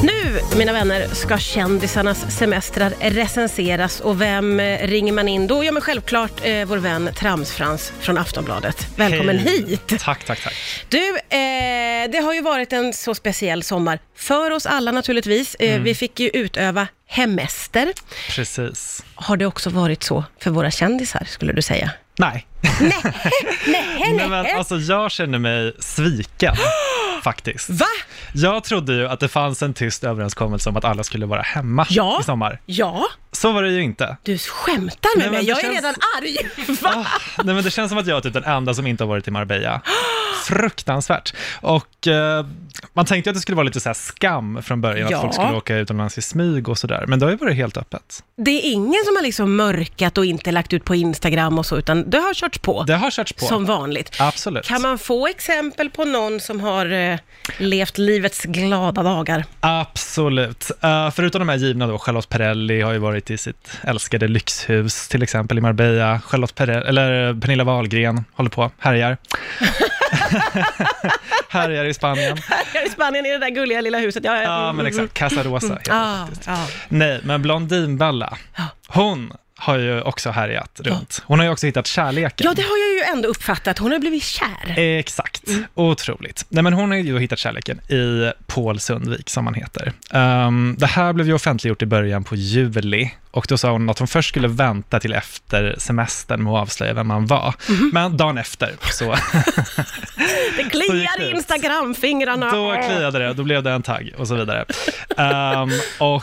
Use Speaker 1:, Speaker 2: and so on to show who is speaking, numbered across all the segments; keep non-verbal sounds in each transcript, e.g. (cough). Speaker 1: Nu, mina vänner, ska kändisarnas semestrar recenseras och vem eh, ringer man in då? Ja, men självklart eh, vår vän Tramsfrans från Aftonbladet. Välkommen
Speaker 2: Hej.
Speaker 1: hit!
Speaker 2: Tack, tack, tack.
Speaker 1: Du, eh, det har ju varit en så speciell sommar för oss alla naturligtvis. Eh,
Speaker 2: Mm.
Speaker 1: Vi fick ju utöva hemester.
Speaker 2: Precis.
Speaker 1: Har det också varit så för våra kändisar, skulle du säga?
Speaker 2: Nej. (laughs)
Speaker 1: Nej,
Speaker 2: Nej, men alltså jag känner mig
Speaker 1: (gasps)
Speaker 2: sviken, faktiskt.
Speaker 1: Va?
Speaker 2: Jag trodde ju att det fanns en tyst överenskommelse om att alla skulle vara hemma
Speaker 1: Ja.
Speaker 2: i sommar.
Speaker 1: Ja,
Speaker 2: Så var det ju inte.
Speaker 1: du skämtar med
Speaker 2: Nej, men
Speaker 1: mig.
Speaker 2: det
Speaker 1: Jag är
Speaker 2: känns-
Speaker 1: redan arg. (laughs) Va?
Speaker 2: Ah, (laughs) nej, men det känns som att jag är typ den enda som inte har varit i Marbella.
Speaker 1: (gasps)
Speaker 2: Fruktansvärt. Och eh, man tänkte ju att det skulle vara lite så här skam från början,
Speaker 1: Ja.
Speaker 2: att folk skulle åka utomlands i smyg och sådär. Men det har ju varit helt öppet.
Speaker 1: Det är ingen som har liksom mörkat och inte lagt ut på Instagram och så, utan det har körts på.
Speaker 2: Det har körts på.
Speaker 1: Som vanligt.
Speaker 2: Absolut.
Speaker 1: Kan man få exempel på någon som har eh, levt livets glada dagar?
Speaker 2: Absolut. Eh, förutom de här givna då, Charlotte Perrelli har ju varit i sitt älskade lyxhus, till exempel i Marbella. Charlotte Perrelli, eller eh, Pernilla Wahlgren håller på, härjar. (laughs) härjar i Spanien.
Speaker 1: Här (laughs) i Spanien i det där gulliga lilla huset. Ja,
Speaker 2: Ja, men exakt. Casa Rosa heter det
Speaker 1: Ah,
Speaker 2: faktiskt.
Speaker 1: ah.
Speaker 2: Nej, men Blondinbella, hon har ju också härjat runt. Hon har ju också hittat kärleken.
Speaker 1: ja, det har jag ju ändå uppfattat. Hon har blivit kär.
Speaker 2: Exakt, otroligt. Nej, men hon har ju hittat kärleken i Paul Sundvik, som han heter. Ehm, det här blev ju offentliggjort i början på juli och då sa hon att hon först skulle vänta till efter semestern med att avslöja vem man var. Men dagen efter så
Speaker 1: Det
Speaker 2: (laughs) Så gick det
Speaker 1: kliar i
Speaker 2: ut.
Speaker 1: Instagram-fingrarna.
Speaker 2: då kliade det, då blev det en tagg och så vidare. Ehm, och eh,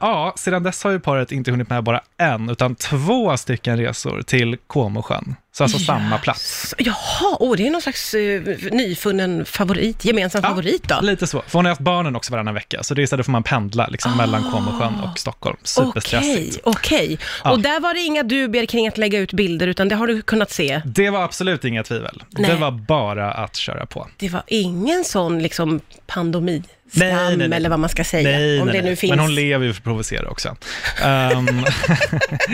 Speaker 2: Ja, sedan dess har ju paret inte hunnit med bara en, utan två stycken resor till Comosjön. Så alltså samma plats.
Speaker 1: Så- Jaha, oh, det är någon slags eh, nyfunnen favorit, gemensam
Speaker 2: Ja,
Speaker 1: favorit då.
Speaker 2: Lite så. För hon har haft barnen också varannan vecka, så det är istället får man pendla liksom, mellan Comosjön och Stockholm. Superstressigt.
Speaker 1: Ah, Okej, okej. Och där var det inga dubier kring att lägga ut bilder, utan det har du kunnat se.
Speaker 2: Det var absolut inga tvivel.
Speaker 1: Nej.
Speaker 2: Det var bara att köra på.
Speaker 1: Det var ingen sån liksom pandemi
Speaker 2: Nej, nej, nej.
Speaker 1: eller vad man ska säga.
Speaker 2: Nej,
Speaker 1: om
Speaker 2: nej,
Speaker 1: det
Speaker 2: nej.
Speaker 1: nu finns.
Speaker 2: Men hon lever ju för att provocera också.
Speaker 1: (laughs)
Speaker 2: Ehm, (laughs)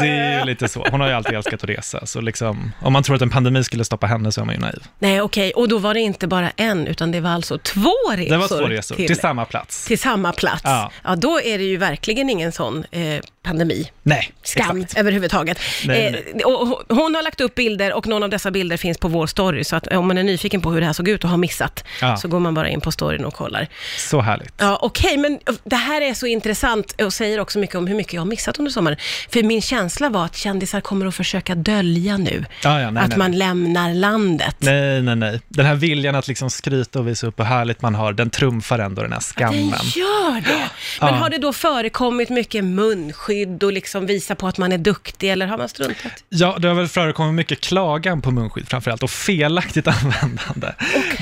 Speaker 2: det är ju lite så. Hon har ju alltid älskat att resa, så liksom, om man tror att en pandemi skulle stoppa henne så är man ju naiv.
Speaker 1: Nej, okej. Och då var det inte bara en, utan det var alltså två resor,
Speaker 2: Det var två resor
Speaker 1: till,
Speaker 2: till samma plats.
Speaker 1: till samma plats. Ja.
Speaker 2: Ja.
Speaker 1: då är det ju verkligen ingen sån eh, pandemi.
Speaker 2: Nej,
Speaker 1: Skam
Speaker 2: exakt.
Speaker 1: överhuvudtaget.
Speaker 2: Nej, nej,
Speaker 1: Eh, och hon- hon har lagt upp bilder och någon av dessa bilder finns på vår story, så att om man är nyfiken på hur det här såg ut och har missat,
Speaker 2: Ja.
Speaker 1: så går man bara in på storyn och kollar.
Speaker 2: Så härligt.
Speaker 1: Ja, Okej, men det här är så intressant och säger också mycket om hur mycket jag har missat under sommaren. För min känsla var att kändisar kommer att försöka dölja nu
Speaker 2: Ja, ja, nej,
Speaker 1: att
Speaker 2: nej,
Speaker 1: man lämnar landet.
Speaker 2: Nej, nej, nej. Den här viljan att liksom skryta och visa upp hur härligt man har, den trumfar ändå den här
Speaker 1: Den
Speaker 2: skammen.
Speaker 1: gör det! Men har det då förekommit mycket munskydd och liksom visa på att man är duktig, eller har man struntat?
Speaker 2: Ja, det har väl förekommit mycket klagan på munskydd framförallt och felaktigt (laughs) användande.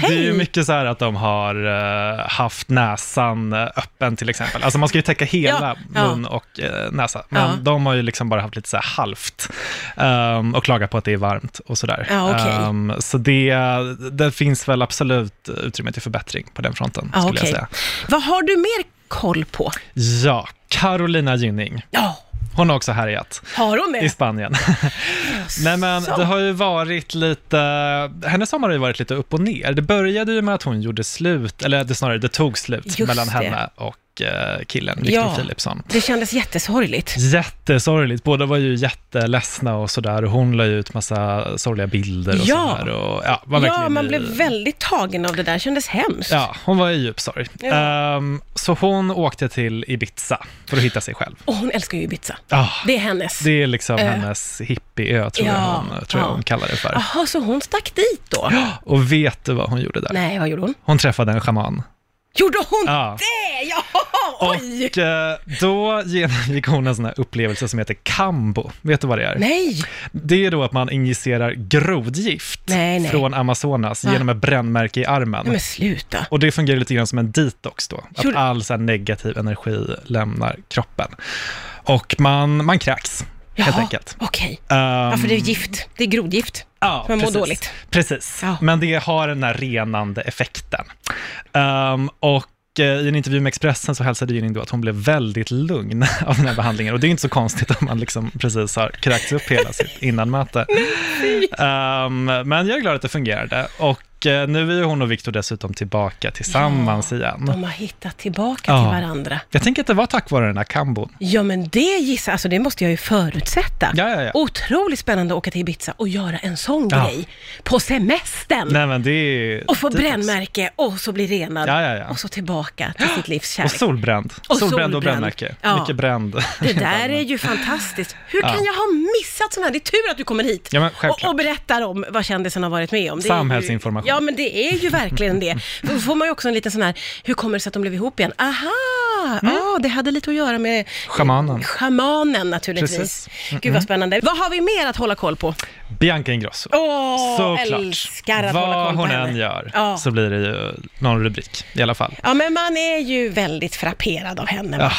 Speaker 2: Det är ju mycket så här att de har eh, haft näsan eh, öppen till exempel. Alltså man ska ju täcka hela
Speaker 1: Ja, ja.
Speaker 2: mun och eh, näsa, men
Speaker 1: Ja.
Speaker 2: de har ju liksom bara haft lite så här halvt ehm, och klagat på att det är varmt och sådär.
Speaker 1: Ja, okej.
Speaker 2: Ehm, så det, det finns väl absolut utrymme till förbättring på den fronten,
Speaker 1: Ja,
Speaker 2: skulle jag
Speaker 1: okej.
Speaker 2: säga.
Speaker 1: Vad har du mer koll på?
Speaker 2: Ja, Carolina Gynning.
Speaker 1: Ja,
Speaker 2: Hon har också härjat
Speaker 1: har hon
Speaker 2: i
Speaker 1: det?
Speaker 2: Spanien. Nej men det har ju varit lite, hennes sommar har ju varit lite upp och ner. Det började ju med att hon gjorde slut, eller det, snarare det tog slut
Speaker 1: Just
Speaker 2: mellan
Speaker 1: det.
Speaker 2: henne och eh, killen Victor
Speaker 1: Ja.
Speaker 2: Philipsson.
Speaker 1: Det kändes jättesorgligt.
Speaker 2: Jättesorgligt, båda var ju jätteledsna och sådär och hon la ju ut massa sorgliga bilder och
Speaker 1: Ja.
Speaker 2: sådär. Och, ja, var
Speaker 1: Ja,
Speaker 2: verkligen
Speaker 1: man
Speaker 2: i-
Speaker 1: blev väldigt tagen av det där, kändes hemskt.
Speaker 2: Ja, hon var i djup sorg.
Speaker 1: Ja.
Speaker 2: Ehm, så hon åkte till Ibiza för att hitta sig själv.
Speaker 1: Och hon älskar ju Ibiza.
Speaker 2: Ah.
Speaker 1: Det är hennes.
Speaker 2: Det är liksom hennes hippieö, tror, jag
Speaker 1: Eh. Ja,
Speaker 2: hon, tror jag
Speaker 1: ja. Ah.
Speaker 2: hon kallar det för.
Speaker 1: Jaha, så hon stack dit då?
Speaker 2: Och vet du vad hon gjorde där?
Speaker 1: Nej, vad gjorde hon?
Speaker 2: Hon träffade en schaman.
Speaker 1: Gjorde hon
Speaker 2: Ja.
Speaker 1: det? Jaha, oj!
Speaker 2: Och eh, då genomgick hon en sån här upplevelse som heter kambo. Vet du vad det är?
Speaker 1: Nej!
Speaker 2: Det är då att man injicerar grodgift
Speaker 1: Nej, nej.
Speaker 2: från Amazonas genom ett brännmärke i armen.
Speaker 1: Nej men sluta.
Speaker 2: Och det fungerar lite grann som en detox då,
Speaker 1: Gjorde-
Speaker 2: att all så här negativ energi lämnar kroppen. Och man, man kräks, helt
Speaker 1: Jaha,
Speaker 2: enkelt.
Speaker 1: Okej.
Speaker 2: Ehm,
Speaker 1: Ja, för det är gift. Det är grodgift.
Speaker 2: Ja,
Speaker 1: Man mår
Speaker 2: precis.
Speaker 1: dåligt.
Speaker 2: Precis,
Speaker 1: Ja.
Speaker 2: men det har den här renande effekten. Ehm, och eh, i en intervju med Expressen så hälsade Gynning då att hon blev väldigt lugn (laughs) av den här behandlingen. Och det är inte så konstigt om man liksom precis har
Speaker 1: (laughs)
Speaker 2: kräkts upp hela sitt innanmöte. Ehm, men jag är glad att det fungerade. Och Och eh, nu är ju hon och Victor dessutom tillbaka tillsammans igen.
Speaker 1: De har hittat tillbaka
Speaker 2: Ja.
Speaker 1: till varandra.
Speaker 2: Jag tänker att det var tack vare den här kambon.
Speaker 1: Ja, men det gissar alltså det måste jag ju förutsätta.
Speaker 2: Ja, ja, ja.
Speaker 1: Otroligt spännande att åka till Ibiza och göra en sån
Speaker 2: Ja.
Speaker 1: grej på semestern.
Speaker 2: Nej men det är...
Speaker 1: Och få
Speaker 2: det är-
Speaker 1: brännmärke och så bli renad.
Speaker 2: Ja, ja, ja.
Speaker 1: Och så tillbaka till sitt livs
Speaker 2: Och
Speaker 1: kärlek.
Speaker 2: solbränd.
Speaker 1: Och
Speaker 2: solbränd
Speaker 1: solbränd.
Speaker 2: och brännmärke.
Speaker 1: Ja.
Speaker 2: Mycket
Speaker 1: (laughs)
Speaker 2: bränd.
Speaker 1: Det där är ju fantastiskt. Hur
Speaker 2: Ja.
Speaker 1: kan jag ha missat sånt här? Det är tur att du kommer hit
Speaker 2: Ja, men
Speaker 1: och,
Speaker 2: självklart.
Speaker 1: och berättar om vad kändisen har varit med om. Det är
Speaker 2: Samhällsinformation.
Speaker 1: Ju, ja, men det är ju verkligen
Speaker 2: (laughs)
Speaker 1: det. Då får man ju också en liten sån här, hur kommer det sig att de blev ihop igen? Aha! Ja, det hade lite att göra med
Speaker 2: Mm. Schamanen.
Speaker 1: schamanen naturligtvis.
Speaker 2: Precis.
Speaker 1: Gud vad spännande. Vad har vi mer att hålla koll på?
Speaker 2: Bianca Ingrosso.
Speaker 1: Åh,
Speaker 2: Såklart.
Speaker 1: älskar att hålla
Speaker 2: Vad
Speaker 1: koll på
Speaker 2: hon
Speaker 1: henne.
Speaker 2: än gör
Speaker 1: Ja.
Speaker 2: så blir det ju någon rubrik i alla fall.
Speaker 1: Ja, men man är ju väldigt frapperad av henne.
Speaker 2: Ah,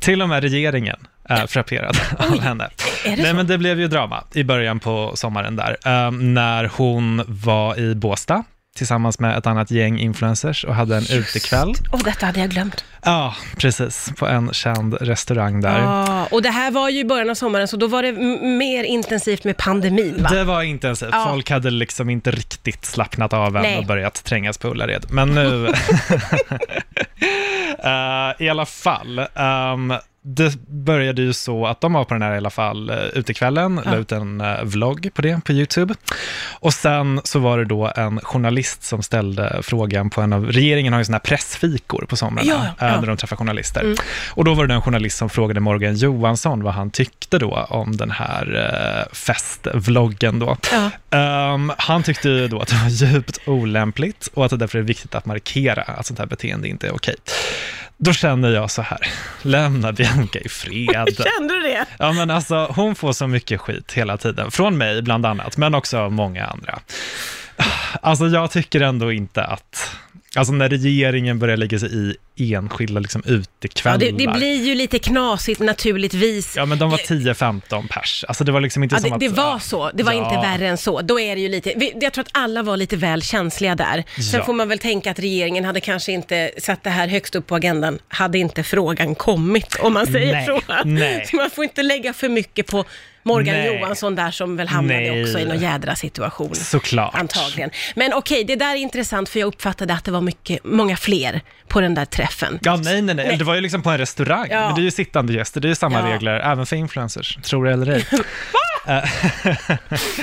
Speaker 2: till och med regeringen är frapperad (laughs) av henne.
Speaker 1: är det
Speaker 2: Nej,
Speaker 1: så?
Speaker 2: men det blev ju drama i början på sommaren där, eh, när hon var i Båstad tillsammans med ett annat gäng influencers och hade en utekväll.
Speaker 1: Och detta hade jag glömt.
Speaker 2: Ja, precis. På en känd restaurang där.
Speaker 1: Ja, Ah, och det här var ju i början av sommaren, så då var det m- mer intensivt med pandemin, va?
Speaker 2: Det var intensivt.
Speaker 1: Ja.
Speaker 2: Folk hade liksom inte riktigt slappnat av än
Speaker 1: Nej.
Speaker 2: och börjat trängas på Ullared. Men
Speaker 1: (laughs)
Speaker 2: nu... (laughs) Eh, I alla fall. ehm, det började ju så att de var på den här i alla fall eh, utekvällen, la ut en eh, vlogg på det på YouTube. Och sen så var det då en journalist som ställde frågan på en av, regeringen har ju sådana här pressfikor på somrarna,
Speaker 1: Ja, ja. Mm.
Speaker 2: eh, där de träffar journalister. Och då var det en journalist som frågade Morgan Johansson vad han tyckte då om den här eh, festvloggen då.
Speaker 1: Ja.
Speaker 2: Ehm, han tyckte ju då att det var djupt olämpligt och att det därför är viktigt att markera att sånt här beteende inte är okej. Då känner jag så här, lämna Bianca i fred.
Speaker 1: Kände du det?
Speaker 2: Ja, men alltså, hon får så mycket skit hela tiden, från mig bland annat, men också av många andra. Alltså jag tycker ändå inte att, alltså när regeringen börjar lägga sig i enskilda liksom
Speaker 1: Ja,
Speaker 2: utekvällar.
Speaker 1: det, det blir ju lite knasigt naturligtvis.
Speaker 2: Ja, men de var 10-15 pers. Alltså det var liksom inte
Speaker 1: Ja,
Speaker 2: som
Speaker 1: det,
Speaker 2: att...
Speaker 1: det var så, det var
Speaker 2: Ja.
Speaker 1: inte värre än så. Då är det ju lite, vi- jag tror att alla var lite väl känsliga där. Sen
Speaker 2: Ja.
Speaker 1: får man väl tänka att regeringen hade kanske inte satt det här högst upp på agendan, hade inte frågan kommit om man säger
Speaker 2: Nej,
Speaker 1: så.
Speaker 2: nej.
Speaker 1: Så man får inte lägga för mycket på Morgan
Speaker 2: Nej.
Speaker 1: Johansson där som väl hamnade
Speaker 2: Nej.
Speaker 1: också i någon jädra situation.
Speaker 2: Såklart.
Speaker 1: Antagligen. Men okej, det där är intressant för jag uppfattade att det var mycket, många fler på den där träffen.
Speaker 2: Ja, nej, nej, nej. Det var ju liksom på en restaurang.
Speaker 1: Ja.
Speaker 2: Men det är ju sittande gäster, det är ju samma
Speaker 1: Ja.
Speaker 2: regler, även för influencers, tror det eller ej.
Speaker 1: (laughs)
Speaker 2: Eh, (laughs)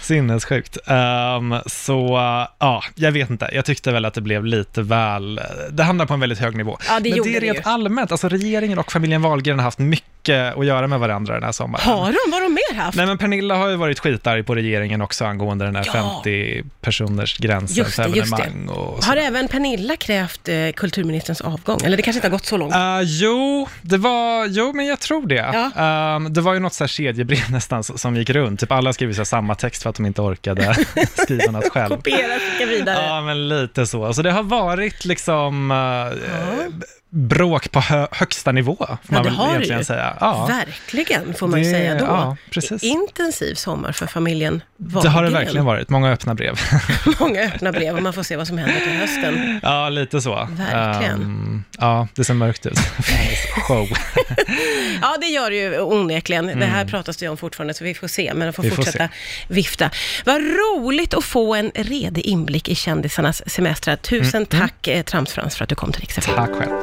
Speaker 2: Sinnessjukt. Ehm, så, eh, ja, jag vet inte. Jag tyckte väl att det blev lite väl... eh, Det hamnade på en väldigt hög nivå.
Speaker 1: Ja, det
Speaker 2: Men
Speaker 1: gjorde
Speaker 2: det är
Speaker 1: det
Speaker 2: rent
Speaker 1: ju.
Speaker 2: allmänt, alltså regeringen och familjen Wahlgren har haft mycket att göra med varandra den här sommaren.
Speaker 1: Har de? Vad har de mer haft?
Speaker 2: Nej, men Pernilla har ju varit skitarg på regeringen också angående den här
Speaker 1: Ja.
Speaker 2: 50 personers gränsen
Speaker 1: Just
Speaker 2: för
Speaker 1: det, just det.
Speaker 2: evenemang och så.
Speaker 1: Har även Pernilla krävt eh, kulturministerns avgång? Eller det kanske inte har gått så långt?
Speaker 2: Eh, jo, det var, jo, men jag tror det. Ehm, det var ju något så här kedjebrev (laughs) nästan som som gick runt. Typ alla skrev så här samma text för att de
Speaker 1: (laughs)
Speaker 2: inte orkade skriva något själv.
Speaker 1: Kopiera, skicka vidare.
Speaker 2: Ja, men lite så. Så det har varit liksom eh, b- bråk på hö- högsta nivå, får man
Speaker 1: det
Speaker 2: väl
Speaker 1: har det
Speaker 2: egentligen
Speaker 1: ju.
Speaker 2: säga. Ja.
Speaker 1: Verkligen, får man ju
Speaker 2: Det-
Speaker 1: säga då.
Speaker 2: ja, precis.
Speaker 1: Intensiv sommar för familjen
Speaker 2: Det
Speaker 1: Wahlgren.
Speaker 2: har det verkligen varit, många öppna brev.
Speaker 1: (laughs)
Speaker 2: (laughs)
Speaker 1: Många öppna brev och man får se vad som händer till hösten.
Speaker 2: ja, lite så.
Speaker 1: Verkligen.
Speaker 2: Ehm, ja, det ser mörkt ut. (laughs) för hennes Show.
Speaker 1: Ja, det gör det ju onekligen. Det här pratas det ju om fortfarande, så Mm. vi får se. Men jag får
Speaker 2: Vi får
Speaker 1: fortsätta vifta. Vad roligt att få en mm. redig inblick i kändisarnas semestrar. Tusen tack, mm. eh, Tramsfrans, för att du kom till Riksdagen.
Speaker 2: Tack själv.